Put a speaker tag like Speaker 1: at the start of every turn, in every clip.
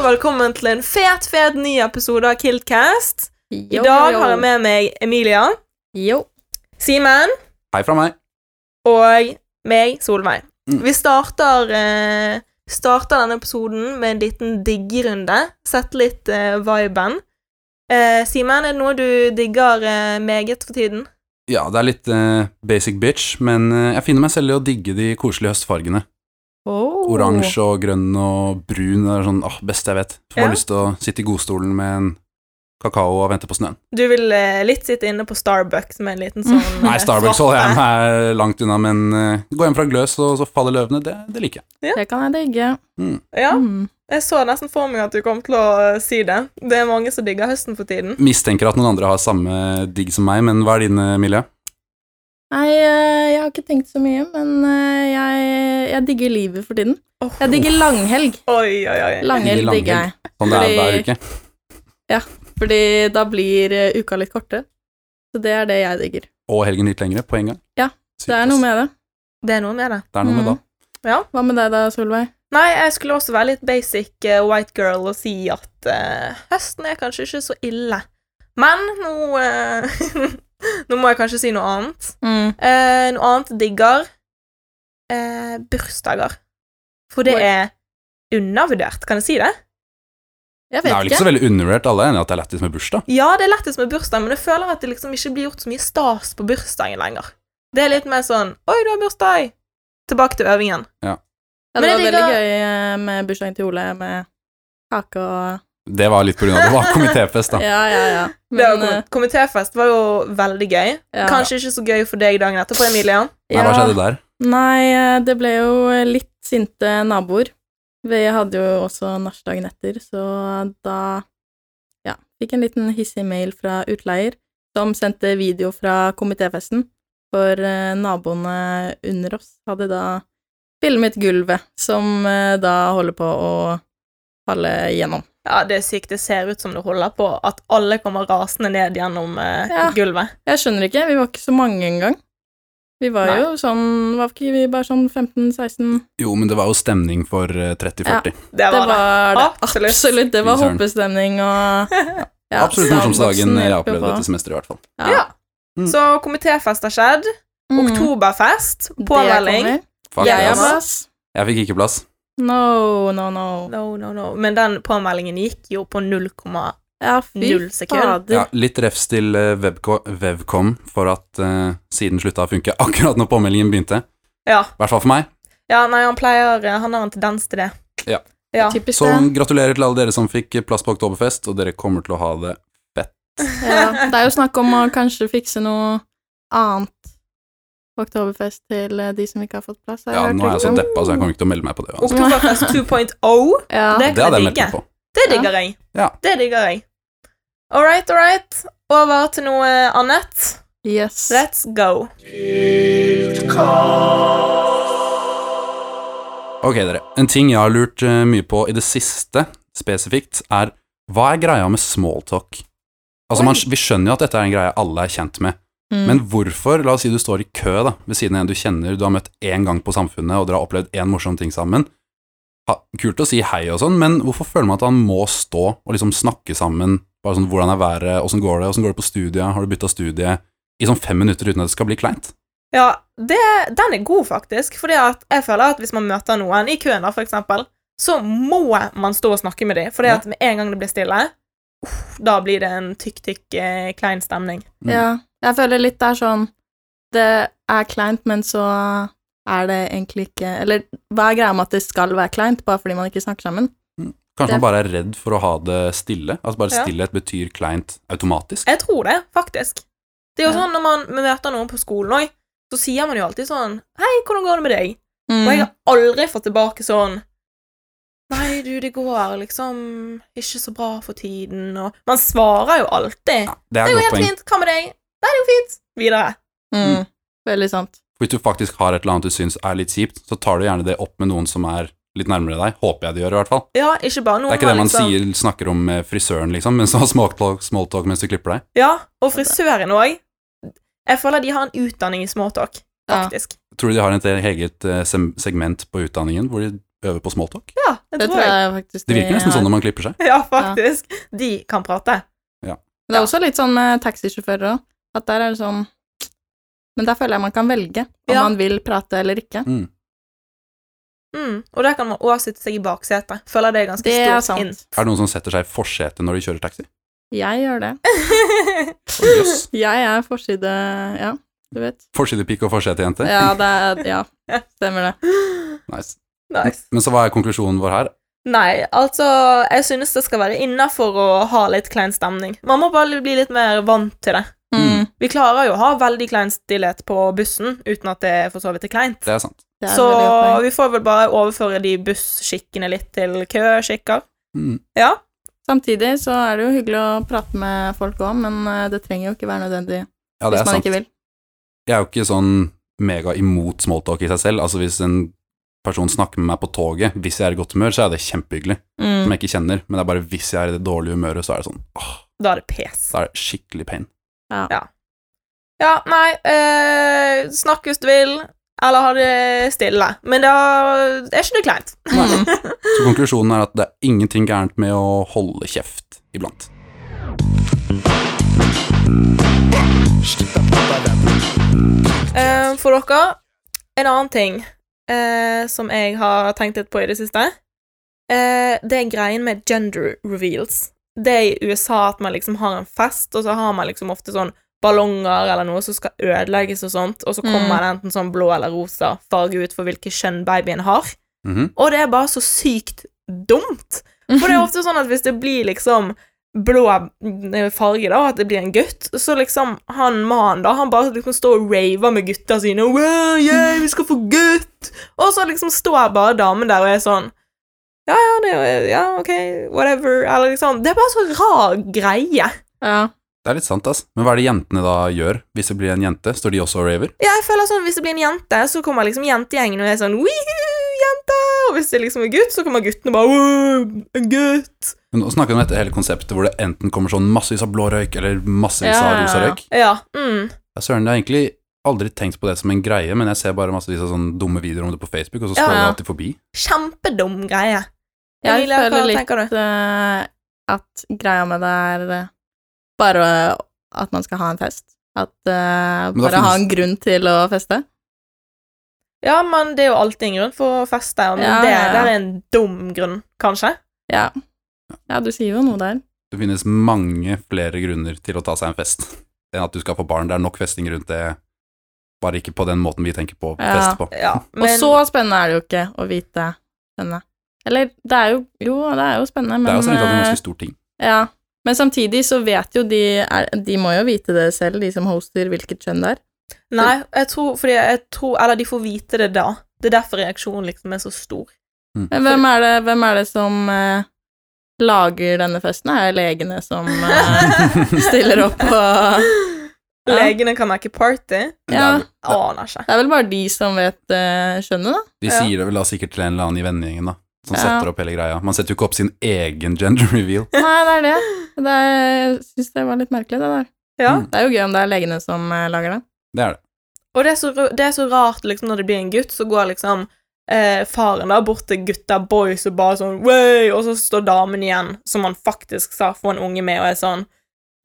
Speaker 1: velkommen til en fet, fet ny episode av Kiltcast. I
Speaker 2: Jo,
Speaker 1: dag
Speaker 2: jo, jo.
Speaker 1: har jeg med meg Emilia,
Speaker 2: Jo.
Speaker 1: Simen
Speaker 3: Hei fra meg.
Speaker 1: og meg, Solveig.
Speaker 3: Mm.
Speaker 1: Vi starter, eh, starter denne episoden med en liten diggerunde. Sett litt eh, viben. Eh, Simen, er det noe du digger eh, meget for tiden?
Speaker 3: Ja, det er litt eh, basic bitch, men eh, jeg finner meg selv i å digge de koselige høstfargene.
Speaker 2: Oh.
Speaker 3: Oransje og grønn og brun. Det er sånn åh, beste jeg vet. Får
Speaker 1: Ja.
Speaker 3: bare lyst til å sitte i godstolen med en kakao og vente på snøen.
Speaker 1: Du vil eh, litt sitte inne på Starbucks med en liten sånn eh,
Speaker 3: Nei, Starbucks
Speaker 1: frappe.
Speaker 3: holder jeg meg langt unna, men eh, gå hjem fra gløs, og så faller løvene. Det, det liker jeg.
Speaker 2: Det kan jeg digge.
Speaker 1: Ja,
Speaker 2: Mm.
Speaker 1: jeg så nesten for meg at du kom til å eh, si det. Det er mange som digger høsten for tiden.
Speaker 3: Mistenker at noen andre har samme digg som meg, men hva er eh, dine, Milje?
Speaker 2: Nei, eh, jeg har ikke tenkt så mye, men eh, jeg, jeg digger livet for tiden.
Speaker 1: Åh.
Speaker 2: Jeg digger langhelg.
Speaker 1: Oi, oi, oi.
Speaker 2: Langhelg
Speaker 3: Digger
Speaker 2: digger jeg,
Speaker 3: Sånn det er hver
Speaker 2: Fordi-
Speaker 3: uke.
Speaker 2: fordi da blir eh, uka litt kortere. Så det er det jeg digger.
Speaker 3: Og helgen litt lengre, på en gang.
Speaker 2: Ja,
Speaker 3: Sykt,
Speaker 2: Det er
Speaker 3: ass.
Speaker 2: noe med det.
Speaker 1: Det er noe med det.
Speaker 3: Det er noe med
Speaker 2: Mm.
Speaker 3: da.
Speaker 2: Hva med deg da, Solveig?
Speaker 1: Nei, jeg skulle også være litt basic eh, white girl og si at eh, høsten er kanskje ikke så ille. Men nå eh, Nå må jeg kanskje si noe annet.
Speaker 2: Mm.
Speaker 1: Eh, noe annet digger eh, bursdager. For det
Speaker 2: Oi.
Speaker 1: er undervurdert, kan jeg si det?
Speaker 2: Jeg
Speaker 3: Det er
Speaker 2: vet
Speaker 3: vel ikke
Speaker 2: ikke.
Speaker 3: så veldig undervurdert, alle er enige i at det er lættis med bursdag.
Speaker 1: Ja, det er lettest med bursdag, men jeg føler at det liksom ikke blir gjort så mye stas på bursdagen lenger. Det er litt mer sånn 'Oi, du har bursdag!' Tilbake til øvingen.
Speaker 2: Ja,
Speaker 1: Men
Speaker 2: det
Speaker 1: jeg
Speaker 2: var
Speaker 1: digger-
Speaker 2: veldig gøy eh, med bursdagen til Ole med kake og
Speaker 3: Det var litt på grunn av det var komitéfest, da.
Speaker 2: Ja, ja, ja.
Speaker 1: Det å
Speaker 2: Men,
Speaker 1: komme-
Speaker 2: eh,
Speaker 1: Komitéfest var jo veldig gøy.
Speaker 2: ja.
Speaker 1: Kanskje ikke så gøy for deg dagen etterpå, Emilia.
Speaker 2: eh,
Speaker 3: Nei, hva skjedde der?
Speaker 2: Nei, eh, det ble jo litt sinte naboer. Vi hadde jo også nachdagen etter, så da ja, fikk en liten hissig mail fra utleier, som sendte video fra komitéfesten, for eh, naboene under oss hadde da filmet gulvet, som eh, da holder på å falle gjennom.
Speaker 1: Ja, det er sykt. Det ser ut som det holder på at alle kommer rasende ned gjennom eh,
Speaker 2: Ja.
Speaker 1: gulvet.
Speaker 2: Jeg skjønner ikke, vi var ikke så mange engang. Vi var
Speaker 1: Nei.
Speaker 2: jo sånn, var ikke vi bare sånn 15-16?
Speaker 3: Jo, men det var jo stemning for eh, 30-40.
Speaker 1: Det
Speaker 2: Det
Speaker 1: var det.
Speaker 2: var det.
Speaker 1: Absolutt.
Speaker 2: Absolutt. Det var
Speaker 3: Fy søren.
Speaker 2: hoppestemning og ja,
Speaker 3: Absolutt morsomste dagen jeg har opplevd dette semesteret, i hvert fall.
Speaker 1: Ja.
Speaker 3: Mm.
Speaker 1: Så komitéfest har skjedd. Oktoberfest. Påmelding.
Speaker 3: Fuck,
Speaker 2: Mm. Jeg
Speaker 3: det,
Speaker 2: har
Speaker 3: ass.
Speaker 1: var-
Speaker 2: plass.
Speaker 3: Jeg fikk ikke plass.
Speaker 2: No, no, no.
Speaker 1: No, no, no. Men den påmeldingen gikk jo på 0,
Speaker 2: Ja, fy
Speaker 1: Null sekund.
Speaker 3: Ja,
Speaker 2: fader.
Speaker 3: litt refs til eh, Webco- Webcom for at eh, siden slutta å funke akkurat når påmeldingen begynte.
Speaker 1: ja.
Speaker 3: I hvert fall for meg.
Speaker 1: ja. Nei, han pleier eh, Han har en tendens til det.
Speaker 3: Ja. Sånn.
Speaker 1: ja.
Speaker 2: Typisk
Speaker 3: Så
Speaker 2: det.
Speaker 3: gratulerer til alle dere som fikk eh, plass på Oktoberfest, og dere kommer til å ha det
Speaker 2: Ja. Det er jo snakk om å kanskje fikse noe annet på Oktoberfest til eh, de som ikke har fått plass. har jeg
Speaker 3: Ja,
Speaker 2: hørt
Speaker 3: nå er jeg sånn så
Speaker 2: rykte om.
Speaker 3: deppa, så jeg kommer ikke til å melde meg på det. uansett.
Speaker 1: Oktoberfest 2.0.
Speaker 2: Ja.
Speaker 1: Det kan
Speaker 3: Det hadde
Speaker 1: jeg
Speaker 3: jeg meldt
Speaker 1: digge.
Speaker 3: meg på.
Speaker 1: Det
Speaker 2: Ja.
Speaker 1: digger jeg.
Speaker 3: Ja.
Speaker 1: Det digger jeg. All right, all right. Over til noe annet.
Speaker 2: Yes.
Speaker 1: Let's go.
Speaker 3: Ok, dere. En ting jeg har lurt eh, mye på i det siste, spesifikt, er hva er greia med smalltalk? Altså, man, vi skjønner jo at dette er en greie alle er kjent med,
Speaker 2: Mm.
Speaker 3: men hvorfor, la oss si du står i kø da, ved siden av en du kjenner, du har møtt én gang på samfunnet, og dere har opplevd én morsom ting sammen. Ha, kult å si hei og sånn, men hvorfor føler man at han må stå og liksom snakke sammen, bare sånn hvordan er været, åssen går det, åssen går det på studiet, har du bytta studie, i sånn fem minutter uten at det skal bli kleint?
Speaker 1: Ja, det, den er god, faktisk. Fordi at jeg føler at hvis man møter noen i køen, da, for eksempel, så må man stå og snakke med dem. Fordi
Speaker 3: Ja.
Speaker 1: at med en gang det blir stille, uff, da blir det en tykk-tykk eh, klein stemning.
Speaker 3: Mm.
Speaker 2: Ja. Jeg føler litt det er sånn Det er kleint, men så er det egentlig ikke Eller hva er greia med at det skal være kleint, bare fordi man ikke snakker sammen?
Speaker 3: Kanskje
Speaker 2: Det-
Speaker 3: man bare er redd for å ha det stille? Altså bare
Speaker 1: Ja.
Speaker 3: stillhet betyr kleint automatisk?
Speaker 1: Jeg tror det, faktisk. Det er jo
Speaker 2: Ja.
Speaker 1: sånn når man møter noen på skolen òg, så sier man jo alltid sånn Hei, hvordan går det med deg?
Speaker 2: Mm.
Speaker 1: Og jeg har aldri fått tilbake sånn Nei, du, det går liksom ikke så bra for tiden, og Man svarer jo alltid.
Speaker 3: Ja,
Speaker 1: Det
Speaker 3: det er
Speaker 1: er
Speaker 3: et
Speaker 1: jo
Speaker 3: godt
Speaker 1: helt
Speaker 3: poeng.
Speaker 1: fint. Hva med deg? Nei, det er jo fint. Videre.
Speaker 2: Mm. Veldig sant.
Speaker 3: Hvis du faktisk har et eller annet du syns er litt kjipt, så tar du gjerne det opp med noen som er litt nærmere deg. Håper jeg de gjør, i hvert fall.
Speaker 1: Ja, ikke bare noen
Speaker 3: Det er ikke det
Speaker 1: har
Speaker 3: man
Speaker 1: liksom-
Speaker 3: sier, snakker om med frisøren, liksom, men så har smalltalk, smalltalk mens du klipper deg.
Speaker 1: Ja, og frisøren òg. Jeg føler de har en utdanning i småtalk,
Speaker 2: Ja.
Speaker 1: faktisk.
Speaker 3: Tror du de har et eget eh, sem- segment på utdanningen hvor de øve på smalltalk?
Speaker 1: Ja, det
Speaker 2: Det
Speaker 1: tror jeg.
Speaker 2: jeg faktisk
Speaker 3: Det virker
Speaker 2: de
Speaker 3: nesten
Speaker 2: har.
Speaker 3: sånn når man klipper seg.
Speaker 1: Ja, faktisk. De kan prate.
Speaker 2: Det er også litt sånn med taxisjåfører òg, at der er det sånn Men der føler jeg man kan velge om
Speaker 1: Ja.
Speaker 2: man vil prate eller ikke.
Speaker 3: Mm.
Speaker 1: Mm. Og der kan man òg sitte seg i baksetet. Føler det er ganske
Speaker 2: Det er
Speaker 1: stort inn.
Speaker 2: sant.
Speaker 3: Er det noen som setter seg i forsetet når de kjører taxi?
Speaker 2: Jeg gjør det.
Speaker 3: Å, Jøss.
Speaker 2: Jeg er forside... Ja, du vet.
Speaker 3: Forsidepike og forsetejente?
Speaker 2: Ja, det er, ja, stemmer det.
Speaker 3: Nice.
Speaker 1: nice.
Speaker 3: Men så hva er konklusjonen vår her?
Speaker 1: Nei, altså, jeg synes det skal være innafor å ha litt klein stemning. Man må bare bli litt mer vant til det.
Speaker 2: Mm,
Speaker 1: Vi klarer jo å ha veldig klein stillhet på bussen uten at det for så vidt er kleint.
Speaker 3: Det er sant.
Speaker 2: det er
Speaker 1: Så
Speaker 2: veldig godt poeng.
Speaker 1: vi får vel bare overføre de busskikkene litt til køskikker.
Speaker 3: Mm.
Speaker 1: Ja.
Speaker 2: Samtidig så er det jo hyggelig å prate med folk òg, men eh, det trenger jo ikke være nødvendig
Speaker 3: Ja, det
Speaker 2: hvis
Speaker 3: er
Speaker 2: man
Speaker 3: sant.
Speaker 2: ikke vil.
Speaker 3: Jeg er jo ikke sånn mega imot smalltalk i seg selv. Altså Hvis en person snakker med meg på toget, hvis jeg er i godt humør, så er det kjempehyggelig. Som
Speaker 2: Mm.
Speaker 3: jeg ikke kjenner, men det er bare hvis jeg er i det dårlige humøret, så er det sånn åh,
Speaker 1: Da er det pes.
Speaker 3: så er det skikkelig pain.
Speaker 1: Ja, nei, eh, snakk hvis du vil, eller ha det stille. Men da er ikke det kleint.
Speaker 2: Mm.
Speaker 3: Så konklusjonen er at det er ingenting gærent med å holde kjeft iblant.
Speaker 1: Eh, for dere, en annen ting eh, som jeg har tenkt litt på i det siste, eh, det er greien med gender reveals. Det er i USA at man liksom har en fest, og så har man liksom ofte sånn ballonger eller noe som skal ødelegges og sånt, og så kommer
Speaker 2: Mm.
Speaker 1: det enten sånn blå eller rosa farge ut for hvilket kjønn babyen har.
Speaker 3: Mhm.
Speaker 1: Og det er bare så sykt dumt.
Speaker 2: Mm.
Speaker 1: For det er ofte sånn at hvis det blir liksom blå eh, farge, da, at det blir en gutt, så liksom han mannen, da, han bare liksom står og raver med gutta sine wow, yeah, 'Vi skal få gutt!' Og så liksom står bare damen der og er sånn ja, ja, det er, jo- ja, ok, whatever, eller liksom Det er bare så rar greie.
Speaker 2: Ja.
Speaker 3: Det er litt sant, ass. Men hva er det jentene da gjør hvis det blir en jente? Står de også og raver?
Speaker 1: Ja, jeg føler sånn, Hvis det blir en jente, så kommer liksom jentegjengen og er sånn «Wihoo, jente!» Og hvis det liksom er gutt, så kommer guttene bare «Wow, en gutt!
Speaker 3: Men nå snakker vi om dette hele konseptet hvor det enten kommer sånn massevis av blå røyk eller massevis
Speaker 2: Ja,
Speaker 3: av
Speaker 2: ja,
Speaker 3: rosa
Speaker 2: ja.
Speaker 3: røyk.
Speaker 1: Ja, mm.
Speaker 3: Ja, søren, jeg har egentlig aldri tenkt på det som en greie, men jeg ser bare massevis av sånne dumme videoer om det på Facebook, og så
Speaker 1: Ja,
Speaker 3: scroller jeg
Speaker 2: ja.
Speaker 3: alltid forbi.
Speaker 1: Kjempedum greie.
Speaker 2: Jeg
Speaker 1: Emilia, hva
Speaker 2: føler litt
Speaker 1: tenker du?
Speaker 2: eh, at greia med det er eh, bare at man skal ha en fest. At eh,
Speaker 3: Men da
Speaker 2: Bare ha
Speaker 3: finnes-
Speaker 2: en grunn til å feste.
Speaker 1: Ja, men det er jo alltid en grunn for å feste, men
Speaker 2: Ja,
Speaker 1: det
Speaker 2: ja, ja.
Speaker 1: der er en dum grunn, kanskje.
Speaker 2: Ja. ja, du sier jo noe der.
Speaker 3: Det finnes mange flere grunner til å ta seg en fest enn at du skal få barn. Det er nok festing rundt det, bare ikke på den måten vi tenker på
Speaker 2: Ja.
Speaker 3: fest på.
Speaker 1: Ja, men,
Speaker 2: Og så spennende er det jo ikke å vite denne. Eller det er jo Jo, det er jo spennende, men
Speaker 3: det er jo strengt tatt en
Speaker 2: eh,
Speaker 3: ganske stor ting.
Speaker 2: Ja, men samtidig så vet jo de er, De må jo vite det selv, de som hoster, hvilket kjønn det er.
Speaker 1: Nei, jeg tror, fordi jeg tror Eller de får vite det da. Det er derfor reaksjonen liksom er så stor.
Speaker 2: Men hvem er det, hvem er det som eh, lager denne festen? Er det legene som eh, stiller opp og Ja.
Speaker 1: Legene kan merke party.
Speaker 2: Ja,
Speaker 3: Det er-
Speaker 1: Aner ikke.
Speaker 2: det er vel bare de som vet eh, kjønnet, da.
Speaker 3: de sier det vel da sikkert til en eller annen i vennegjengen, da, som
Speaker 2: Ja.
Speaker 3: setter opp hele greia. Man setter jo ikke opp sin egen gender reveal.
Speaker 2: Nei, det er det. det er, jeg syns det var litt merkelig, det der.
Speaker 1: Ja.
Speaker 3: Mm.
Speaker 2: Det er jo gøy om det er legene som eh, lager det.
Speaker 3: Det er det.
Speaker 1: Og det er, så, ru- det er så rart liksom, når det blir en gutt, så går liksom eh, faren da bort til gutta boys og bare sånn Way! Og så står damen igjen, som han faktisk sa få en unge med, og er sånn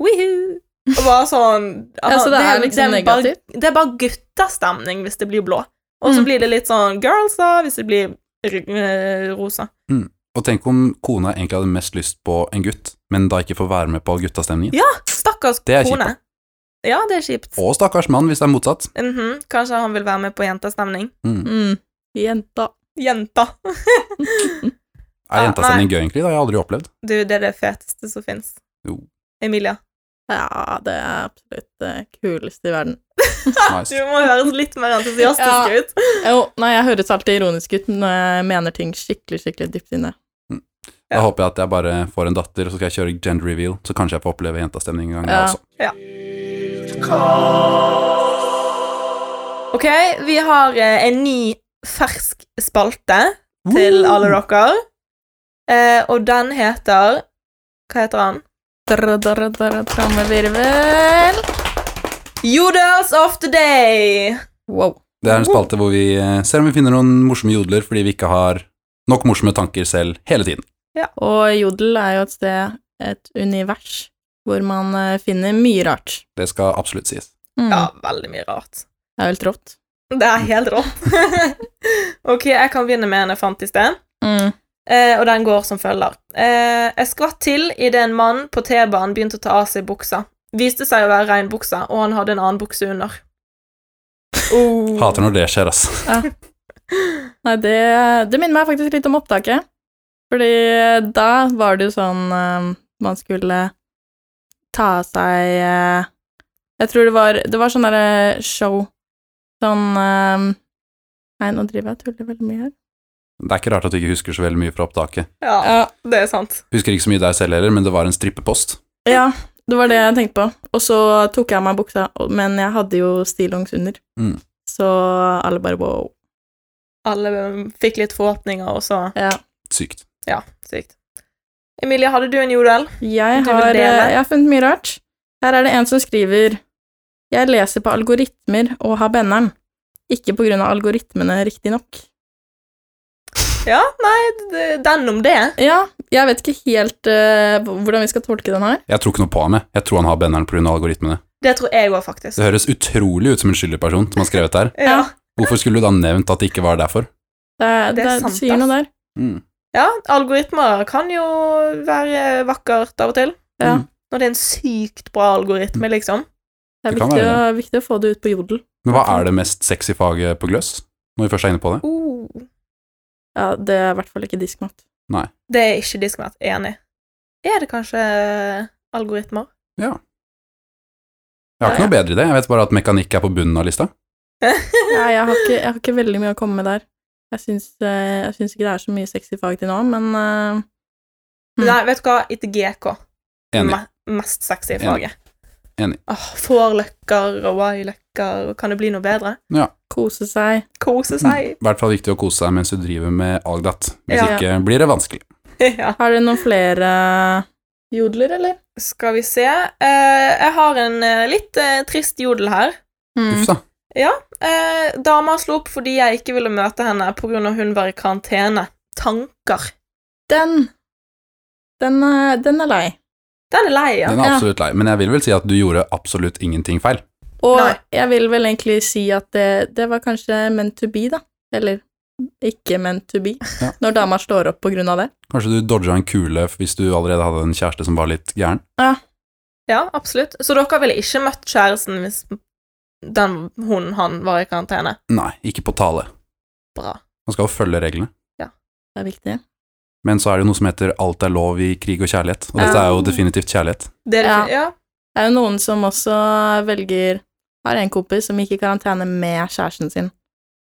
Speaker 1: Wihu! Og bare sånn
Speaker 2: Ja, så det er liksom
Speaker 1: det bare,
Speaker 2: negativt?
Speaker 1: Det er bare guttastemning hvis det blir blå. Og så
Speaker 2: Mm.
Speaker 1: blir det litt sånn girls, da, hvis det blir r- eh, rosa.
Speaker 3: Og tenk om kona egentlig hadde mest lyst på en gutt, men da ikke får være med på guttastemningen.
Speaker 1: Ja. Stakkars
Speaker 3: Det er kjipt,
Speaker 1: kone.
Speaker 3: da.
Speaker 1: Ja, det er kjipt.
Speaker 3: Og stakkars mann, hvis det er motsatt.
Speaker 1: Mhm, Kanskje han vil være med på jentastemning.
Speaker 3: Mm.
Speaker 2: Mm. Jenta.
Speaker 1: Jenta.
Speaker 3: Er
Speaker 1: Ja,
Speaker 3: jentastemning gøy, egentlig? Det har jeg aldri opplevd.
Speaker 1: Du, det er det feteste som fins.
Speaker 3: Jo.
Speaker 1: Emilia.
Speaker 2: Ja, det er absolutt det kuleste i verden.
Speaker 1: Du
Speaker 3: Nice.
Speaker 1: må høres litt mer entusiastisk
Speaker 2: Ja.
Speaker 1: ut.
Speaker 2: Jo, nei, jeg høres alltid ironisk ut når jeg mener ting skikkelig, skikkelig dypt inne.
Speaker 3: Da håper jeg at jeg bare får en datter, og så skal jeg kjøre gender reveal, så kanskje jeg får oppleve jentastemning en gang, jeg
Speaker 2: Ja.
Speaker 3: også.
Speaker 1: Ok, vi har eh, en ny fersk spalte til alle dere. Eh, og den heter Hva heter han?
Speaker 2: Drr, drr, drr, Trommevirvel.
Speaker 1: Jodels of the day!
Speaker 2: Wow.
Speaker 3: Det er en spalte hvor vi eh, ser om vi finner noen morsomme jodler fordi vi ikke har Nok morsomme tanker selv hele tiden.
Speaker 2: Og Jodel er jo et sted, et univers, hvor man eh, finner mye rart.
Speaker 3: Det skal absolutt sies.
Speaker 2: Mm.
Speaker 1: Ja, veldig mye rart.
Speaker 2: Det er jo helt rått.
Speaker 1: Det er helt rått. ok, jeg kan begynne med en jeg fant i sted,
Speaker 2: Mm.
Speaker 1: eh, og den går som følger. Eh, jeg skvatt til idet en mann på T-banen begynte å ta av seg buksa. Viste seg å være regnbuksa, og han hadde en annen bukse under. Oh.
Speaker 3: Hater når det skjer, ass.
Speaker 2: Nei, det, det minner meg faktisk litt om opptaket. Fordi da var det jo sånn eh, man skulle ta av seg eh, Jeg tror det var Det var sånn derre show Sånn eh, Nei, nå driver jeg og tuller veldig mye her.
Speaker 3: Det er ikke rart at du ikke husker så veldig mye fra opptaket.
Speaker 1: Ja, det er sant.
Speaker 3: Husker ikke så mye der selv heller, men det var en strippepost.
Speaker 2: Ja, det var det jeg tenkte på. Og så tok jeg av meg buksa, og- men jeg hadde jo stillongs under.
Speaker 3: Mm.
Speaker 2: Så alle bare wow.
Speaker 1: Alle eh, fikk litt forhåpninger, og så
Speaker 2: Ja.
Speaker 3: Sykt.
Speaker 1: Ja, sykt. Emilie, hadde du en jodel? Du
Speaker 2: Jeg
Speaker 1: vil
Speaker 2: har, eh,
Speaker 1: dele?
Speaker 2: jeg har funnet mye rart. Her er det en som skriver Jeg leser på algoritmer og har benneren. Ikke på grunn av algoritmene, riktignok.
Speaker 1: Ja, nei, d- den om det.
Speaker 2: Ja, jeg vet ikke helt eh, hvordan vi skal tolke den her.
Speaker 3: Jeg tror ikke noe på ham, jeg. Jeg tror han har benneren pga. algoritmene.
Speaker 1: Det tror jeg òg, faktisk.
Speaker 3: Det høres utrolig ut som en skyldig person som har skrevet det her.
Speaker 1: Ja.
Speaker 3: Hvorfor skulle du da nevnt at det ikke var derfor?
Speaker 2: Det, er-
Speaker 1: Det
Speaker 2: det,
Speaker 1: er sant,
Speaker 2: sier
Speaker 1: ass.
Speaker 2: noe der.
Speaker 3: Mm.
Speaker 1: ja, algoritmer kan jo være vakkert av og til.
Speaker 2: Ja.
Speaker 3: Mm.
Speaker 1: Når det er en sykt bra algoritme, liksom.
Speaker 2: Det er
Speaker 3: Det kan
Speaker 2: viktig å,
Speaker 3: være
Speaker 2: viktig å få det ut på jodel.
Speaker 3: Men hva er det mest sexy faget på gløss, når vi først er inne på det?
Speaker 1: Oh,
Speaker 2: Ja, det er i hvert fall ikke diskmat.
Speaker 1: det er ikke de som har vært enig. Er det kanskje eh, algoritmer?
Speaker 3: Jeg har ikke
Speaker 2: Ja,
Speaker 3: noe bedre i det, jeg vet bare at mekanikk er på bunnen av lista. Hmm.
Speaker 2: Nei, jeg har ikke, jeg har ikke veldig mye å komme med der. Jeg syns, eh, jeg syns ikke det er så mye sexy fag til nå, men eh, Mm.
Speaker 1: Nei, vet du hva? Etter GK.
Speaker 3: Enig.
Speaker 1: Me- Mest sexy i
Speaker 3: Enig.
Speaker 1: faget.
Speaker 3: Enig.
Speaker 1: Åh, Fårløkker og y-løkker, og kan det bli noe bedre?
Speaker 2: kose seg.
Speaker 1: Kose
Speaker 3: Mm.
Speaker 1: seg.
Speaker 3: I hvert fall viktig å kose seg mens du driver med algdat. Hvis
Speaker 1: Ja.
Speaker 3: ikke blir det vanskelig. Hmm.
Speaker 1: ja.
Speaker 2: Har dere noen flere eh, jodler, eller?
Speaker 1: Skal vi se Eh, Jeg har en eh, litt eh, trist jodel her.
Speaker 2: Mm.
Speaker 3: Uff da.
Speaker 1: Eh, dama slo opp fordi jeg ikke ville møte henne pga. hun var i karantene. Tanker.
Speaker 2: Den Den er, den er lei.
Speaker 1: Den er lei, ja.
Speaker 3: Den er
Speaker 2: Ja.
Speaker 3: absolutt lei. Men jeg vil vel si at du gjorde absolutt ingenting feil.
Speaker 2: Og
Speaker 1: Nei.
Speaker 2: jeg vil vel egentlig si at det, det var kanskje meant to be, da. Eller ikke meant to be,
Speaker 3: Ja.
Speaker 2: når dama slår opp på grunn av det.
Speaker 3: Kanskje du dodga en kule hvis du allerede hadde en kjæreste som var litt gæren.
Speaker 1: Ja, absolutt. Så dere ville ikke møtt kjæresten hvis den, hun, han var i karantene?
Speaker 3: Nei, ikke på tale.
Speaker 1: Bra.
Speaker 3: Man skal jo følge reglene.
Speaker 2: Det er viktig.
Speaker 3: Men så er det jo noe som heter alt er lov i krig og kjærlighet, og dette er jo definitivt kjærlighet.
Speaker 1: Det er det, ja.
Speaker 2: Ja.
Speaker 1: ja.
Speaker 2: Det er jo noen som også velger Har en kompis som gikk i karantene med kjæresten sin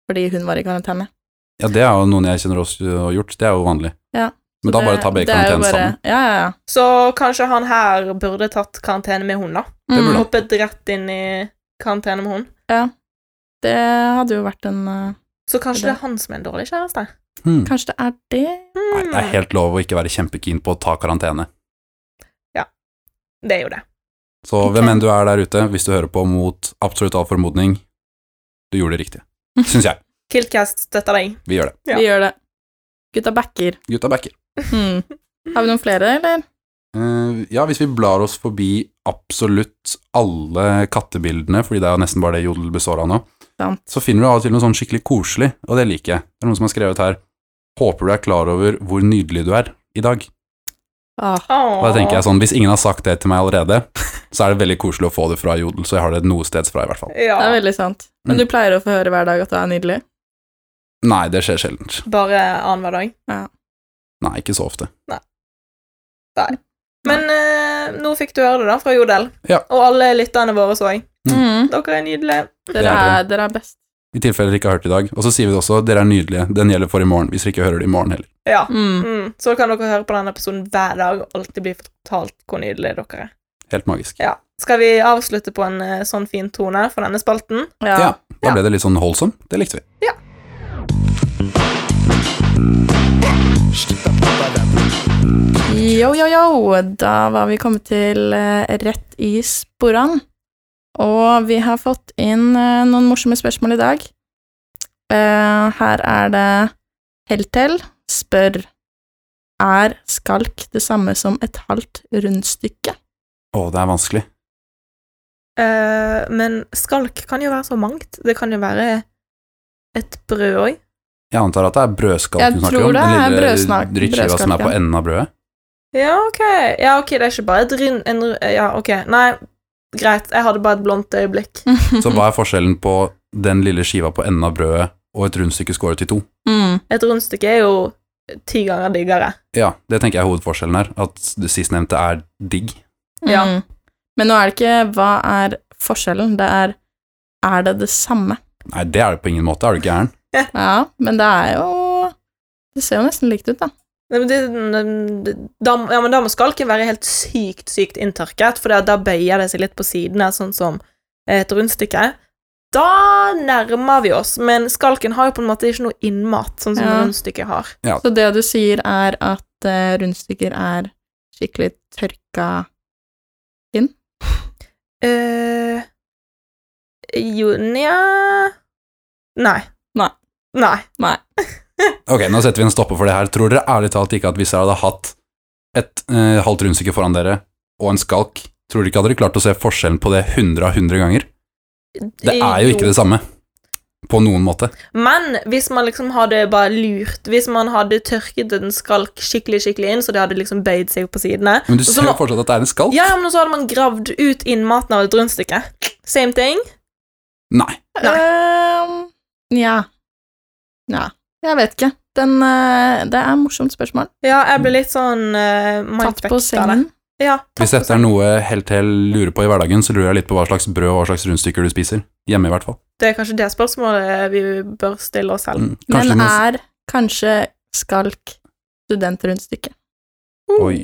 Speaker 2: fordi hun var i karantene.
Speaker 3: Ja, det er jo noen jeg kjenner oss har gjort, det er jo vanlig.
Speaker 2: Ja. Så
Speaker 3: Men da bare
Speaker 2: det-
Speaker 3: ta begge
Speaker 2: det er jo
Speaker 3: karantene
Speaker 2: bare-
Speaker 3: sammen.
Speaker 2: Ja, ja, ja.
Speaker 1: Så kanskje han her burde tatt karantene med hun, da.
Speaker 3: Det
Speaker 2: Mm.
Speaker 3: burde han.
Speaker 1: Hoppet rett inn i karantene med hun.
Speaker 2: Det hadde jo vært en eh,
Speaker 1: Så kanskje det
Speaker 2: Det-
Speaker 1: er han som er en dårlig kjæreste.
Speaker 3: Hmm.
Speaker 2: Kanskje det er det?
Speaker 1: Hmm.
Speaker 3: Nei, det
Speaker 2: Mm.
Speaker 3: er helt lov å ikke være kjempekeen på å ta karantene.
Speaker 1: det er jo det.
Speaker 3: Så
Speaker 2: Ok.
Speaker 3: hvem enn du er der ute, hvis du hører på mot absolutt all formodning, du gjorde det riktig. Syns jeg.
Speaker 1: Kiltcast støtter deg.
Speaker 3: Vi gjør det.
Speaker 1: Ja.
Speaker 2: Vi gjør det. Gutta backer.
Speaker 3: Gutta backer.
Speaker 2: Mm. Har vi noen flere, eller?
Speaker 3: Eh, ja, hvis vi blar oss forbi absolutt alle kattebildene, fordi det er jo nesten bare det Jodel består av nå,
Speaker 2: Sant.
Speaker 3: så finner du av og til noe sånn skikkelig koselig, og det liker jeg. Det er noen som har skrevet her Håper du er klar over hvor nydelig du er i dag.
Speaker 2: Ah,
Speaker 3: Og da tenker jeg sånn, Hvis ingen har sagt det til meg allerede, så er det veldig koselig å få det fra Jodel, så jeg har det noe steds fra, i hvert fall.
Speaker 1: Ja.
Speaker 2: Det er veldig sant. Men
Speaker 3: Mm.
Speaker 2: du pleier å få høre hver dag at du er nydelig.
Speaker 3: Nei, det skjer sjeldent.
Speaker 1: Bare annenhver dag.
Speaker 3: Nei, ikke så ofte.
Speaker 1: Men eh, nå fikk du høre det da fra Jodel,
Speaker 3: Ja.
Speaker 1: og alle lytterne våre så jeg.
Speaker 2: Mm.
Speaker 1: Dere er nydelige.
Speaker 3: er
Speaker 2: Dere, er, dere er best.
Speaker 3: I tilfelle dere ikke har hørt i dag. Og så sier vi det også, dere er nydelige. Den gjelder for i morgen, hvis dere ikke hører det i morgen heller.
Speaker 1: Ja.
Speaker 2: Mm.
Speaker 1: Mm. Så kan dere høre på denne episoden hver dag og alltid bli fortalt hvor nydelige dere er.
Speaker 3: Helt magisk.
Speaker 1: Ja. Skal vi avslutte på en eh, sånn fin tone for denne spalten?
Speaker 2: Ja.
Speaker 3: Ja. Da ble det litt sånn holdsom. Det likte vi.
Speaker 2: Yo, yo, yo! Da var vi kommet til eh, rett i sporene. Og vi har fått inn eh, noen morsomme spørsmål i dag. Eh, her er det Heltel spør Er skalk det samme som et halvt rundstykke?
Speaker 3: Å, det er vanskelig.
Speaker 1: Eh, men skalk kan jo være så mangt. Det kan jo være et brød òg.
Speaker 3: Jeg antar at det er
Speaker 2: Jeg
Speaker 3: brødskalk du snakker
Speaker 2: tror
Speaker 3: om?
Speaker 2: det er
Speaker 3: Den
Speaker 2: brødsnak-
Speaker 3: lille drittskiva som er
Speaker 2: brødskalk,
Speaker 3: på
Speaker 2: ja.
Speaker 3: enden av brødet?
Speaker 1: Ja, ok. Ja, ok, det er ikke bare et rund... En, ru- ja, ok. Nei, greit. Jeg hadde bare et blondt øyeblikk.
Speaker 3: Så hva er forskjellen på den lille skiva på enden av brødet og et rundstykke skåret i to?
Speaker 2: Mm.
Speaker 1: Et rundstykke er jo ti ganger diggere.
Speaker 3: Ja, det tenker jeg er hovedforskjellen her, at det sistnevnte er digg.
Speaker 1: Ja.
Speaker 2: Mm. Men nå er det ikke hva er forskjellen, det er er det det samme?
Speaker 3: Nei, det er det på ingen måte, er du gæren?
Speaker 2: Ja, men det er jo Det ser jo nesten likt ut, da.
Speaker 1: Nei, men det- det- Da, ja, men da må skalken være helt sykt, sykt inntørket, for da da bøyer det seg litt på sidene, sånn som et rundstykke. Da nærmer vi oss, men skalken har jo på en måte ikke noe innmat, sånn som
Speaker 2: Ja.
Speaker 1: rundstykket har.
Speaker 2: Så det du sier, er at eh, rundstykker er skikkelig tørka
Speaker 1: eh jo, nja Nei.
Speaker 2: Nei.
Speaker 1: Nei.
Speaker 2: Nei.
Speaker 3: Ok, nå setter vi en stopper for det her. Tror dere ærlig talt ikke at hvis dere hadde hatt et eh, halvt rundstykke foran dere og en skalk, tror dere ikke hadde dere klart å se forskjellen på det 100 av 100 ganger? Det er jo ikke det samme. På noen måte.
Speaker 1: Men hvis man liksom hadde bare lurt Hvis man hadde tørket en skalk skikkelig skikkelig inn, så det hadde liksom bøyd seg på sidene
Speaker 3: Men du
Speaker 1: Og så
Speaker 3: ser jo
Speaker 1: må-
Speaker 3: fortsatt at det er en skalk.
Speaker 1: Ja, ja, men så hadde man gravd ut innmaten av et rundstykke. Same thing.
Speaker 3: Nei.
Speaker 1: Nei.
Speaker 2: Ehm, Nja. Nja. Jeg vet ikke. Den eh, Det er et morsomt spørsmål.
Speaker 1: Ja, jeg ble litt sånn uh,
Speaker 2: Tatt på sengen.
Speaker 1: Ja, tatt
Speaker 3: Hvis
Speaker 1: på
Speaker 3: dette er
Speaker 1: sengen.
Speaker 3: noe helt til lurer på i hverdagen, så lurer jeg litt på hva slags brød og hva slags rundstykker du spiser. Hjemme, i hvert fall.
Speaker 1: Det er kanskje det spørsmålet vi bør stille oss selv.
Speaker 3: Mm. Kanskje
Speaker 2: men
Speaker 3: noe
Speaker 2: er kanskje skalk studentrundstykket?
Speaker 3: Mm, Oi.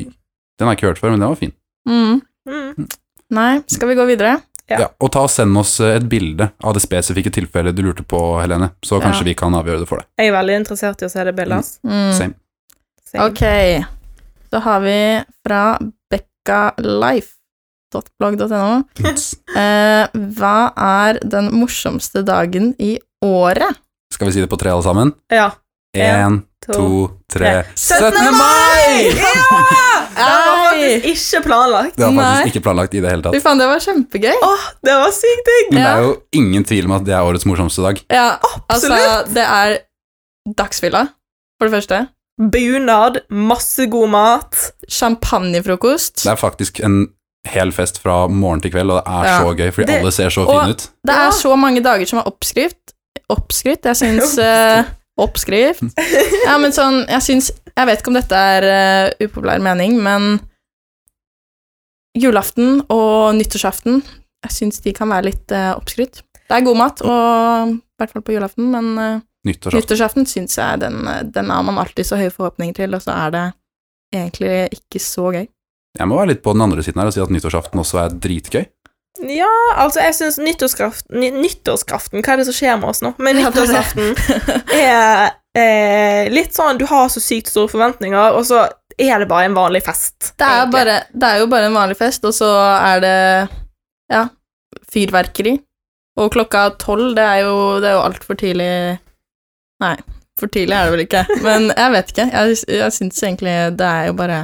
Speaker 3: Den har jeg ikke hørt før, men den var fin.
Speaker 2: Mm.
Speaker 1: Mm.
Speaker 2: Nei, skal vi gå videre?
Speaker 1: Ja.
Speaker 3: Ja. og ta og send oss eh, et bilde av det spesifikke tilfellet du lurte på, Helene, så
Speaker 2: Ja.
Speaker 3: kanskje vi kan avgjøre det for deg.
Speaker 1: Jeg er veldig interessert i å se det bildet. ass.
Speaker 2: Mm.
Speaker 3: Same.
Speaker 1: Same.
Speaker 2: Ok, så har vi fra bekkalife.blogg.no eh, Hva er den morsomste dagen i året?
Speaker 3: Skal vi si det på tre, alle sammen?
Speaker 1: Ja.
Speaker 3: Én, to, tre
Speaker 1: 17. mai! Det var faktisk ikke planlagt.
Speaker 3: Det var
Speaker 2: Nei.
Speaker 3: faktisk ikke planlagt i det hele
Speaker 2: Fy
Speaker 3: tatt.
Speaker 2: faen, det var kjempegøy!
Speaker 1: Åh, det var sykt digg!
Speaker 3: Men det
Speaker 2: Ja.
Speaker 3: er jo ingen tvil om at det er årets morsomste dag.
Speaker 2: Ja, altså,
Speaker 1: Absolutt.
Speaker 2: det er dagsfylla, for det første.
Speaker 1: Bunad, masse god mat.
Speaker 2: Champagnefrokost.
Speaker 3: Det er faktisk en hel fest fra morgen til kveld, og det er
Speaker 2: Ja.
Speaker 3: så gøy, fordi
Speaker 1: Det-
Speaker 3: alle ser så
Speaker 2: og-
Speaker 3: fine ut.
Speaker 2: Det
Speaker 1: Ja.
Speaker 2: er så mange dager som er oppskrift. Oppskrytt, jeg syns eh, Oppskrift. Ja, men sånn, jeg syns Jeg vet ikke om dette er eh, upopulær mening, men julaften og nyttårsaften, jeg syns de kan være litt eh, oppskrytt. Det er god mat, og i hvert fall på julaften, men eh,
Speaker 3: Nyttårsaften.
Speaker 2: nyttårsaften syns jeg den, eh, den har man alltid så høye forhåpninger til, og så er det egentlig ikke så gøy.
Speaker 3: Jeg må være litt på den andre siden her og si at nyttårsaften også er dritgøy.
Speaker 1: Ja, altså, jeg syns nyttårskraften ny, Nyttårskraften, hva er det som skjer med oss nå? Men
Speaker 2: Ja, det er det.
Speaker 1: nyttårsaften er eh, litt sånn Du har så sykt store forventninger, og så er det bare en vanlig fest.
Speaker 2: Det er,
Speaker 1: egentlig.
Speaker 2: bare, det er jo bare en vanlig fest, og så er det ja, fyrverkeri. Og klokka tolv, det er jo, det er jo altfor tidlig Nei, for tidlig er det vel ikke, men jeg vet ikke. Jeg, jeg syns egentlig det er jo bare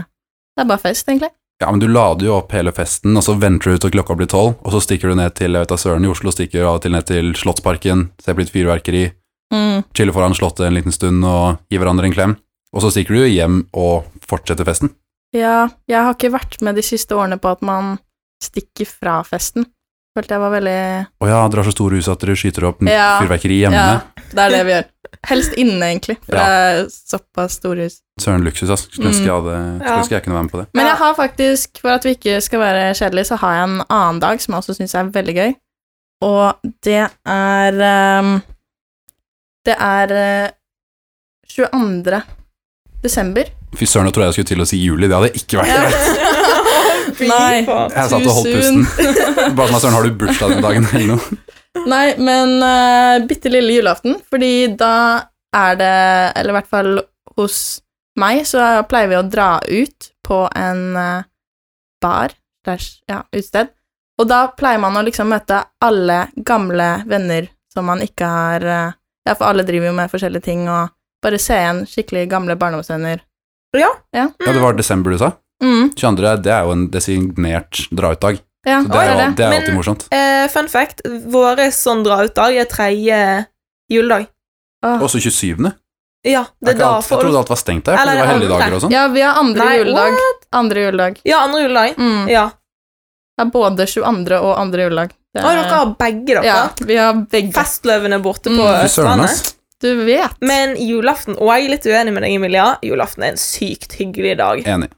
Speaker 2: Det er bare fest, egentlig.
Speaker 3: Ja, men du lader jo opp hele festen, og så venter du til klokka blir tolv, og så stikker du ned til, jeg vet da søren, i Oslo stikker du av og til ned til Slottsparken, ser på litt fyrverkeri,
Speaker 2: Mm.
Speaker 3: chiller foran Slottet en liten stund og gir hverandre en klem, og så stikker du hjem og fortsetter festen.
Speaker 2: Ja, jeg har ikke vært med de siste årene på at man stikker fra festen. Følte jeg var veldig
Speaker 3: Å ja, dere har så store hus at dere skyter opp nytt
Speaker 2: Ja.
Speaker 3: fyrverkeri hjemme.
Speaker 2: Ja, det er det vi gjør. Helst inne, egentlig, for
Speaker 3: Ja.
Speaker 2: det er såpass store hus.
Speaker 3: Søren luksus, ass. Skulle ønske jeg, hadde,
Speaker 1: Ja.
Speaker 3: skulle ønske jeg kunne være med på det.
Speaker 2: Men
Speaker 1: Ja.
Speaker 2: jeg har faktisk, for at vi ikke skal være kjedelige, så har jeg en annen dag som jeg også syns er veldig gøy, og det er ehm, Det er eh, 22. desember.
Speaker 3: Fy søren, nå tror jeg jeg skulle til å si juli, det hadde jeg ikke vært.
Speaker 1: Fy
Speaker 2: Nei.
Speaker 1: faen.
Speaker 3: Jeg satt og holdt
Speaker 2: Too
Speaker 3: pusten.
Speaker 2: soon.
Speaker 3: Bare sånn, søren, har du bursdag den dagen eller noe?
Speaker 2: Nei, men uh, bitte lille julaften, fordi da er det Eller i hvert fall hos meg, så pleier vi å dra ut på en eh, bar slash ja, utested. Og da pleier man å liksom møte alle gamle venner som man ikke har eh, Ja, for alle driver jo med forskjellige ting, og Bare se igjen skikkelig gamle barndomsvenner.
Speaker 3: Ja, det var desember du sa.
Speaker 2: Mm,
Speaker 3: 22. det er jo en designert dra-ut-dag.
Speaker 2: ja,
Speaker 3: Så det
Speaker 2: det er
Speaker 3: er, jo,
Speaker 2: det.
Speaker 3: det er jo
Speaker 1: Men-
Speaker 3: alltid morsomt.
Speaker 1: Eh, fun fact, våre sånn dra-ut-dag er tredje juledag.
Speaker 2: Åh.
Speaker 3: Også 27.
Speaker 1: Ja, det er
Speaker 3: Det er ikke
Speaker 1: da
Speaker 3: alt, jeg
Speaker 1: folk
Speaker 3: trodde alt var stengt der, for
Speaker 1: Eller
Speaker 3: det var
Speaker 1: alle-
Speaker 3: helligdager og sånn.
Speaker 2: Ja, vi har andre
Speaker 1: Nei,
Speaker 2: juledag. Andre juledag.
Speaker 1: Ja, andre juledag.
Speaker 2: Mm.
Speaker 1: Ja.
Speaker 2: Det er både 22. og andre juledag. Det
Speaker 1: Og dere
Speaker 2: er-
Speaker 1: har begge, dere.
Speaker 2: ja, vi har begge.
Speaker 1: Festløvene borte på
Speaker 2: Mm.
Speaker 3: Fy søren,
Speaker 1: Østlandet.
Speaker 3: ass.
Speaker 2: Du vet.
Speaker 1: Men julaften Og jeg er litt uenig med deg, Emilia. Julaften er en sykt hyggelig dag.
Speaker 3: Enig.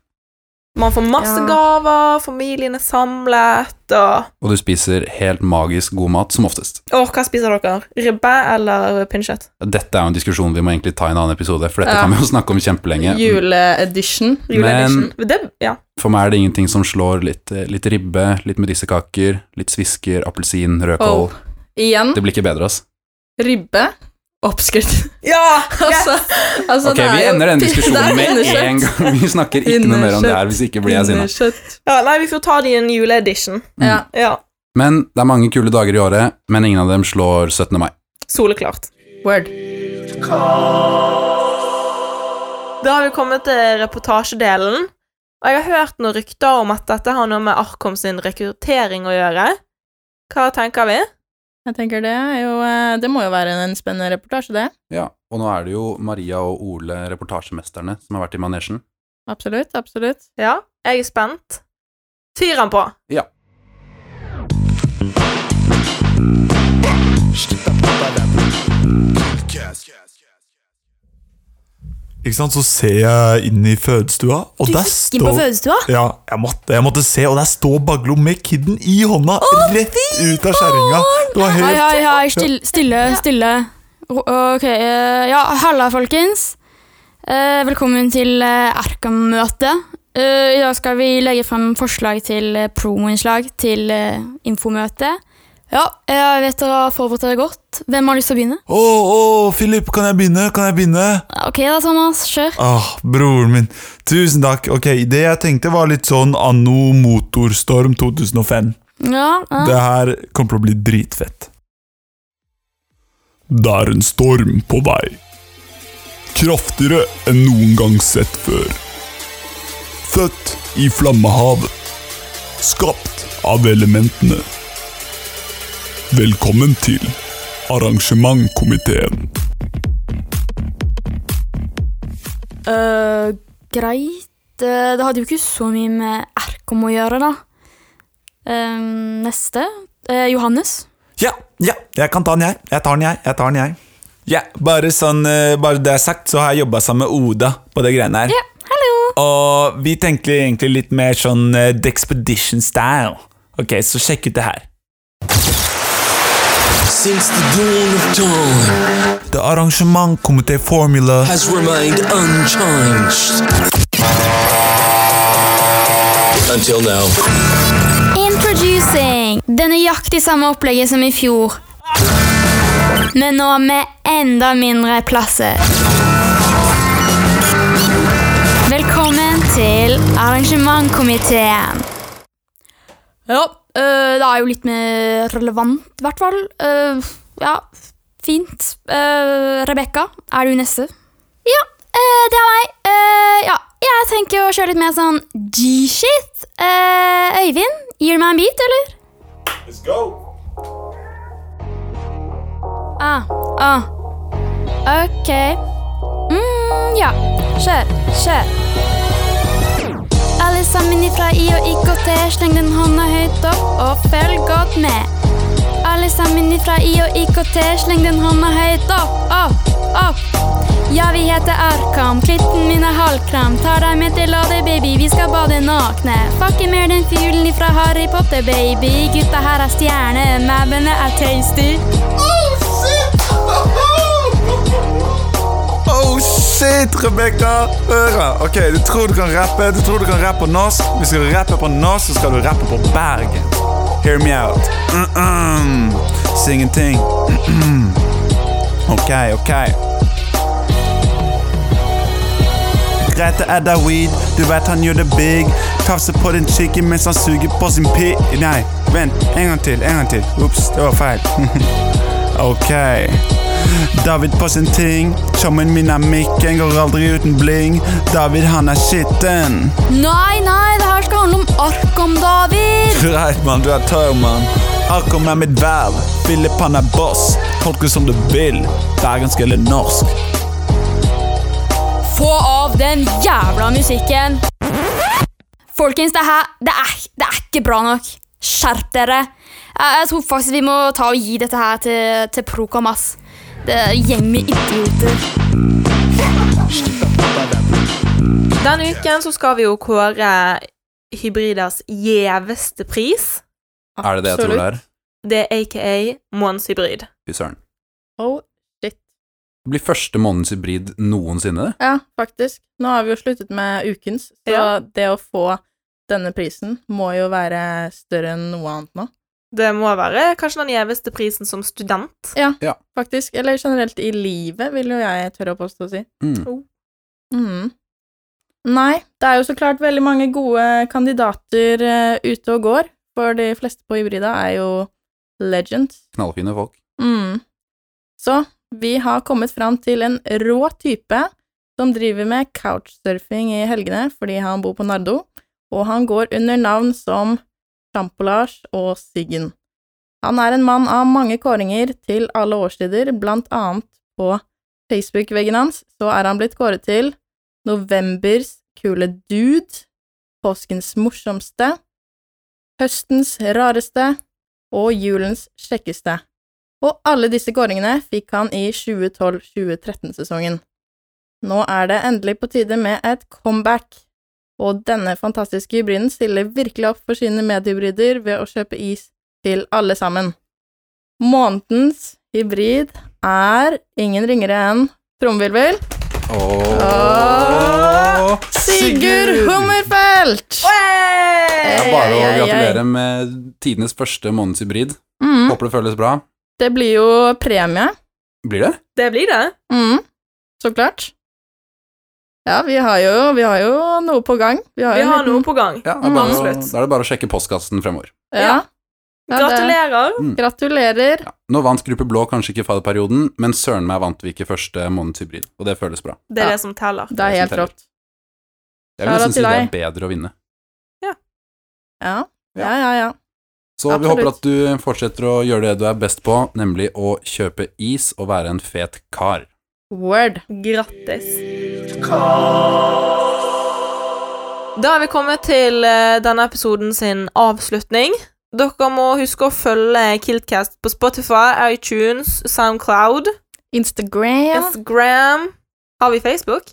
Speaker 1: Man får masse
Speaker 2: Ja.
Speaker 1: gaver, familien er samlet, og
Speaker 3: Og du spiser helt magisk god mat, som oftest.
Speaker 1: Åh, hva spiser dere? Ribbe eller pinnekjøtt?
Speaker 3: Dette er jo en diskusjon vi må egentlig ta i en annen episode, for dette
Speaker 2: Ja.
Speaker 3: kan vi jo snakke om kjempelenge.
Speaker 2: Juleedition.
Speaker 1: Juleedition. Det, ja.
Speaker 3: For meg er det ingenting som slår litt, eh, litt ribbe, litt medisterkaker, litt svisker, appelsin, rødkål.
Speaker 2: Oh. Igjen,
Speaker 3: Det blir ikke bedre, ass.
Speaker 2: ribbe. Oppskrift.
Speaker 1: Ja!
Speaker 2: altså, altså,
Speaker 3: Ok, vi ender den diskusjonen med en gang. Vi snakker ikke noe mer om det her, hvis ikke blir jeg sinna.
Speaker 2: Innekjøtt.
Speaker 1: ja. Nei, vi får ta det i en juleedition.
Speaker 3: Mm.
Speaker 2: Ja.
Speaker 1: Ja.
Speaker 3: Men det er mange kule dager i året, men ingen av dem slår 17. mai.
Speaker 1: Soleklart.
Speaker 2: Word.
Speaker 1: Da har vi kommet til reportasjedelen. Og jeg har hørt noen rykter om at dette har noe med Arkom sin rekruttering å gjøre. Hva tenker vi?
Speaker 2: Jeg tenker det er jo eh, Det må jo være en spennende reportasje, det.
Speaker 3: Ja, og nå er det jo Maria og Ole, reportasjemesterne, som har vært i manesjen.
Speaker 2: Absolutt. Absolutt.
Speaker 1: Ja, jeg er spent. Fyr han på.
Speaker 3: Ja.
Speaker 4: Ikke sant, så ser jeg inn i fødestua, og der
Speaker 5: inn på
Speaker 4: står
Speaker 5: fødestua?
Speaker 4: ja, jeg måtte, jeg måtte se, og der står Baglo med kidden i hånda, rett ut av skjæringa. Det var
Speaker 5: Hei,
Speaker 4: helt
Speaker 5: hei, hei. Stille, stille. stille. Ro- Ok, eh, ja, halla, folkens. Eh, Velkommen til Erkan-møtet. I dag skal vi legge frem forslag til eh, promoinnslag til eh, infomøtet. Ja, jeg vet dere har forberedt dere godt. Hvem har lyst til å begynne?
Speaker 4: Å, å, Philip, kan jeg begynne? Kan jeg begynne?
Speaker 5: Ok da, Thomas. Kjør.
Speaker 4: Ah, broren min. Tusen takk. Ok, det jeg tenkte var litt sånn anno motorstorm 2005.
Speaker 5: Ja, ja.
Speaker 4: Det her kommer til å bli dritfett. Det er en storm på vei. Kraftigere enn noen gang sett før. Født i flammehavet. Skapt av elementene. Velkommen til arrangementkomiteen.
Speaker 5: Eh, greit. Eh, Det hadde jo ikke så mye med Erkom å gjøre, da. Eh, neste. Eh, Johannes.
Speaker 4: Ja, ja, jeg kan ta den, jeg. Jeg tar den, jeg. jeg, tar den, jeg. Ja, bare sånn, eh, bare det er sagt, så har jeg jobba sammen med Oda på det greiene her.
Speaker 5: Ja, hallo.
Speaker 4: Og vi tenker egentlig litt mer sånn eh, Dexpedition style. Ok, så sjekk ut det her.
Speaker 6: Since the dawn of time
Speaker 4: The Arrangement Comité Formula
Speaker 6: has remained unchanged. Until now.
Speaker 5: Introducing! Det er nøyaktig samme opplegget som i fjor. Men nå med enda mindre plasser. Velkommen til arrangementkomiteen. Ja, øh, det er jo litt mer relevant, i hvert fall. Øh, ja, fint. Uh, Rebekka, er du neste? Ja, eh, det er meg. Eh, ja, jeg tenker å kjøre litt mer sånn G-shit. Eh, Øyvind, gir du meg en bit, eller? Let's go! Ah, ah. Ok. Mm, ja. Kjør, kjør. Alle sammen ifra I og IKT, sleng den hånda høyt opp og følg godt med. Alle sammen ifra I og IKT, sleng den hånda høyt opp, opp, opp. Ja, vi heter Arkam, klitten min er halvkram. Tar deg med til Lade, baby, vi skal bade nakne. Fucker mer den fuglen ifra Harry Potter, baby. Gutta her er stjerne, mauene er tasty.
Speaker 7: Oh shit, Rebecca! Hør, ok, du tror du kan rappe, du tror du kan rappe på norsk. Hvis du skal rappe på norsk, så skal du rappe på Bergen. Hear me out. Mm -mm. Si ingenting. Mm-mm. Ok, ok. Greit, det er da weed. Du vet han gjør det big. Tafser på din chicken mens han suger på sin pi... Nei, vent. En gang til, en gang til. Ops, det var feil. ok. David på sin ting. Tjommen min er mikken, går aldri uten bling. David, han er skitten.
Speaker 5: Nei, nei, det her skal handle om Arkham, David!
Speaker 7: Greit, mann. Du er tørr, mann. Arkom er mitt verv. Philip, han er boss. Tolk det som du vil. Bergensk eller norsk.
Speaker 5: Få av den jævla musikken! Folkens, det her det er, det er ikke bra nok. Skjerp dere. Jeg, jeg tror faktisk vi må ta og gi dette her til, til Procom, ass. Det er en gjeng med idioter.
Speaker 1: Denne uken så skal vi jo kåre Hybriders gjeveste pris.
Speaker 3: Er det det jeg tror det er?
Speaker 1: Det er aka Måns Hybrid.
Speaker 3: Fy søren.
Speaker 2: Oh,
Speaker 3: Det blir første månedens hybrid noensinne. det.
Speaker 2: ja, faktisk. Nå har vi jo sluttet med ukens, så
Speaker 1: Ja.
Speaker 2: det å få denne prisen må jo være større enn noe annet nå,
Speaker 1: Det må være kanskje den gjeveste prisen som student.
Speaker 2: faktisk. Eller generelt i livet, vil jo jeg tørre å påstå å si.
Speaker 3: Mm.
Speaker 2: Mhm. Nei, det er jo så klart veldig mange gode kandidater eh, ute og går, for de fleste på Hybrida er jo legends.
Speaker 3: Knallfine folk.
Speaker 2: Mm. Så vi har kommet fram til en rå type som driver med couchsurfing i helgene fordi han bor på Nardo, og han går under navn som Sjampolars og Siggen. Han er en mann av mange kåringer til alle årstider, blant annet på Facebook-veggen hans så er han blitt kåret til Novembers kule dude, påskens morsomste, høstens rareste og julens kjekkeste. Og alle disse kåringene fikk han i 2012-2013-sesongen. Nå er det endelig på tide med et comeback, og denne fantastiske hybriden stiller virkelig opp for sine medhybrider ved å kjøpe is til alle sammen. Månedens hybrid er ingen ringere enn trommevirvel
Speaker 3: Åh.
Speaker 2: Sigurd Hummerfelt!
Speaker 3: Det er bare
Speaker 2: Ei,
Speaker 3: å
Speaker 2: ei, ei.
Speaker 3: gratulere med tidenes første månedens hybrid.
Speaker 2: Mm.
Speaker 3: Håper det føles bra.
Speaker 2: Det blir jo premie.
Speaker 3: Blir det?
Speaker 1: Det blir det.
Speaker 2: Mm. Så klart. Ja, vi har, jo, vi har jo noe på gang. Vi har,
Speaker 1: Vi
Speaker 2: jo en
Speaker 1: har
Speaker 2: liten-
Speaker 1: noe på gang. Mm.
Speaker 3: Ja, det er bare, å,
Speaker 1: Absolutt.
Speaker 3: da er det bare å sjekke postkassen fremover.
Speaker 2: Ja. Ja, det-
Speaker 1: Gratulerer.
Speaker 2: Gratulerer.
Speaker 3: Ja. Nå vant Gruppe Blå kanskje ikke fadderperioden, men søren meg vant vi ikke første månedens hybrid, og det føles bra.
Speaker 1: Det er
Speaker 2: Ja.
Speaker 1: det som teller.
Speaker 2: Det er
Speaker 3: Det er
Speaker 2: helt
Speaker 3: som
Speaker 2: rått.
Speaker 3: Jeg vil
Speaker 2: Kjære
Speaker 3: nesten si
Speaker 2: til
Speaker 3: det er bedre å vinne.
Speaker 2: Ja. ja, ja, ja.
Speaker 3: Så vi
Speaker 2: Absolutt.
Speaker 3: håper at du fortsetter å gjøre det du er best på, nemlig å kjøpe is og være en fet kar.
Speaker 2: Word.
Speaker 1: Grattis. Da er vi kommet til eh, denne episoden sin avslutning. Dere må huske å følge Kiltcast på Spotify, iTunes, Soundcloud,
Speaker 2: Instagram.
Speaker 1: Instagram Har vi Facebook?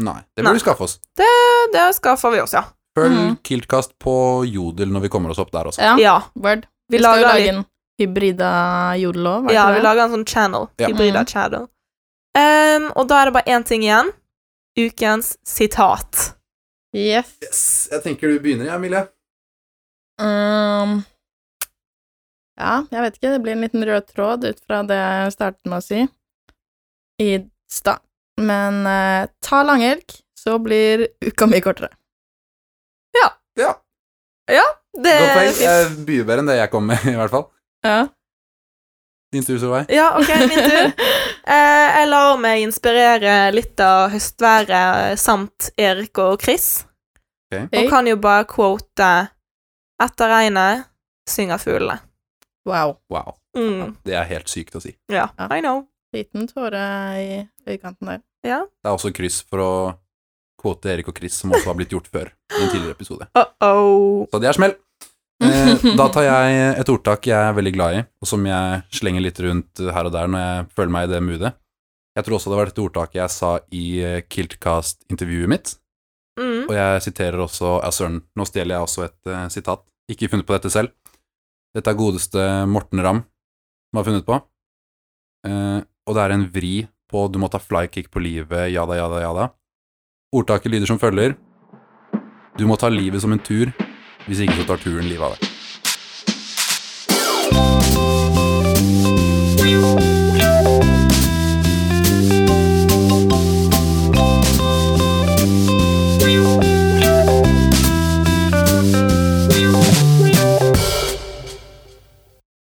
Speaker 3: Nei, det
Speaker 1: Nei.
Speaker 3: bør vi skaffe oss.
Speaker 1: Det skaffer vi oss, ja.
Speaker 3: Følg
Speaker 2: Mhm.
Speaker 3: Kiltkast på Jodel når vi kommer oss opp der også.
Speaker 2: Ja.
Speaker 1: Ja,
Speaker 2: Word.
Speaker 1: Vi
Speaker 2: Vi skal jo
Speaker 1: lager
Speaker 2: lage en hybrida jodelov.
Speaker 1: ja vi lager en sånn channel.
Speaker 3: Ja.
Speaker 1: Hybrida
Speaker 2: Mm.
Speaker 1: channel. Em, og da er det bare én ting igjen. Ukens sitat.
Speaker 2: Yes.
Speaker 3: Yes, jeg tenker du begynner, jeg, Emilie.
Speaker 2: Um, ja, jeg vet ikke. Det blir en liten rød tråd ut fra det jeg startet med å si i stad. Men eh, ta langelk, så blir uka mye kortere.
Speaker 3: Ja,
Speaker 1: Det
Speaker 3: godt
Speaker 1: er
Speaker 3: poeng.
Speaker 1: fint.
Speaker 3: Eh, Mye bedre enn det jeg kom med, i hvert fall.
Speaker 2: Ja.
Speaker 3: Din tur, Solveig.
Speaker 1: Ja, OK, min tur. Eh, jeg lar meg inspirere litt av høstværet eh, samt Erik og Chris.
Speaker 2: Hey.
Speaker 1: Og kan jo bare quote 'Etter regnet synger fuglene'.
Speaker 2: Wow.
Speaker 3: Wow,
Speaker 1: Mm,
Speaker 3: det er helt sykt å si.
Speaker 1: ja,
Speaker 2: Ja.
Speaker 1: I know.
Speaker 2: Liten tåre i øyekanten der.
Speaker 3: Det er også kryss for å kvote Erik og Chris, som også har blitt gjort før i en tidligere episode.
Speaker 1: Uh-oh.
Speaker 3: Så det er smell. Eh, da tar jeg et ordtak jeg er veldig glad i, og som jeg slenger litt rundt her og der når jeg føler meg i det moodet. Jeg tror også det var dette ordtaket jeg sa i eh, Kiltcast-intervjuet mitt,
Speaker 1: Mm.
Speaker 3: og jeg siterer også Ja, søren, nå stjeler jeg også et eh, sitat. Ikke funnet på dette selv. Dette er godeste Morten Ramm som har funnet på, eh, og det er en vri på 'du må ta flykick på livet', jada, jada, jada. Ordtaket lyder som følger Du må ta livet som en tur, hvis ikke så tar turen livet av deg.